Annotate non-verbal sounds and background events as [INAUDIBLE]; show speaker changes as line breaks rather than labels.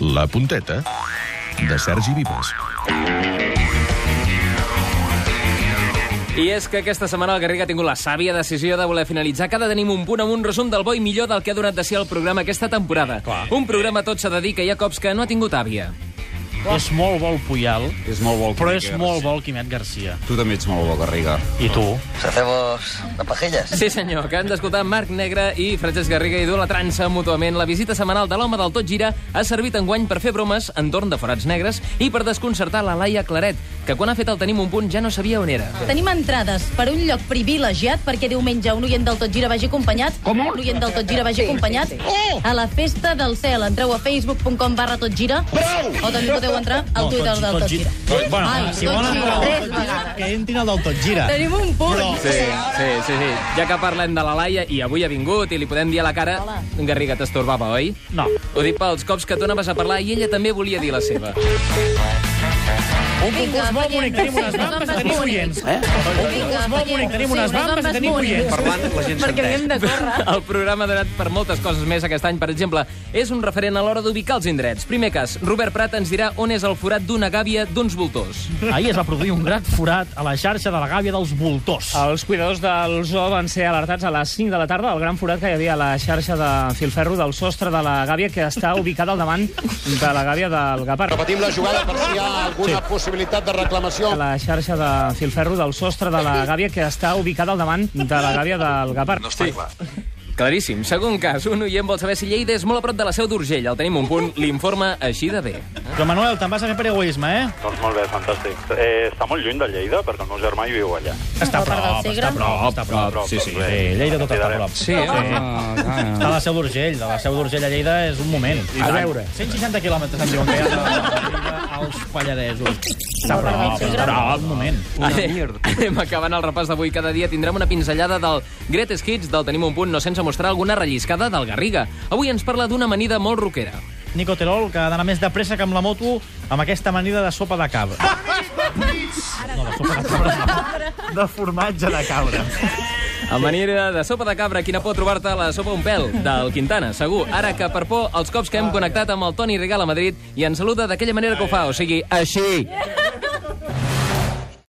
La punteta de Sergi Vives.
I és que aquesta setmana el Garriga ha tingut la sàvia decisió de voler finalitzar cada Tenim un punt amb un resum del bo i millor del que ha donat de si el programa aquesta temporada.
Clar.
Un programa tot s'ha de dir que hi ha cops que no ha tingut àvia.
És molt bo el Puyal,
És molt bo el
però
Quimet
és
Garcia.
molt bo el Quimet Garcia.
Tu també ets molt bo, Garriga.
I tu?
¿Hacemos las pajillas?
Sí, senyor, que han d'escoltar Marc Negre i Francesc Garriga idolatrant-se mútuament. La visita setmanal de l'home del Tot Gira ha servit enguany per fer bromes entorn de forats negres i per desconcertar la Laia Claret, que quan ha fet el Tenim un punt ja no sabia on era.
Tenim entrades per un lloc privilegiat perquè diumenge un oient del Tot Gira vagi acompanyat. Com un? oient del Tot Gira vagi acompanyat a la Festa del Cel. Entreu a facebook.com barra Tot Gira o també podeu entrar al Twitter del Tot Gira.
Bueno,
Ai,
si
Tot
volen
Gira,
entrar al
tres
Tot Gira,
vegades.
que entrin al del Tot Gira.
Tenim un punt.
Sí, sí, sí, sí. Ja que parlem de la Laia, i avui ha vingut i li podem dir a la cara...
Hola.
Garriga t'estorbava, oi?
No.
Ho dic pels cops que tu anaves a parlar i ella també volia dir la seva.
Un concurs molt bonic, tenim unes bambes, tenim oients. Un concurs molt bonic, tenim unes bambes, tenim oients.
Parlant, la gent s'entén.
de córrer.
El programa ha donat per moltes coses més aquest any. Per exemple, és un referent a l'hora d'ubicar els indrets. Primer cas, Robert Prat ens dirà on és el forat d'una gàbia d'uns voltors.
Ahir es va produir un gran forat a la xarxa de la gàbia dels voltors.
Els cuidadors del zoo van ser alertats a les 5 de la tarda del gran forat que hi havia a la xarxa de filferro del sostre de la gàbia que està ubicada al davant de la gàbia del Gapar.
Repetim la jugada per si hi ha alguna possibilitat de reclamació.
A la xarxa de filferro del sostre de la gàbia que està ubicada al davant de la gàbia del Gapar.
està clar.
Claríssim. Segon cas, un oient vol saber si Lleida és molt a prop de la seu d'Urgell. El tenim un punt, l'informa així de bé.
Però, Manuel, te'n vas a fer per egoisme, eh?
Doncs molt bé, fantàstic. Eh, està molt lluny de Lleida, perquè el meu germà hi viu allà.
Està a
part del
prop, està
Segre.
a prop, està a prop.
sí, sí.
Sí, Lleida tot està a prop. Sí, Ah, Està a la Seu d'Urgell, de la Seu d'Urgell a Lleida és un moment. A veure. 160 quilòmetres em diuen que hi ha de Lleida als Palladesos. Està a prop, està a prop, un moment.
Anem, anem acabant el repàs d'avui. Cada dia tindrem una pinzellada del Greatest Hits del Tenim un punt, no sense mostrar alguna relliscada del Garriga. Avui ens parla d'una amanida molt roquera.
Nico Terol, que ha d'anar més de pressa que amb la moto amb aquesta amanida de sopa de cabra. No, de sopa de cabra. [LAUGHS] De formatge de cabra.
Amanida de sopa de cabra, quina por trobar-te a la sopa un pèl, del Quintana, segur. Ara que per por, els cops que hem connectat amb el Toni Regal a Madrid i ens saluda d'aquella manera que ho fa, o sigui, així.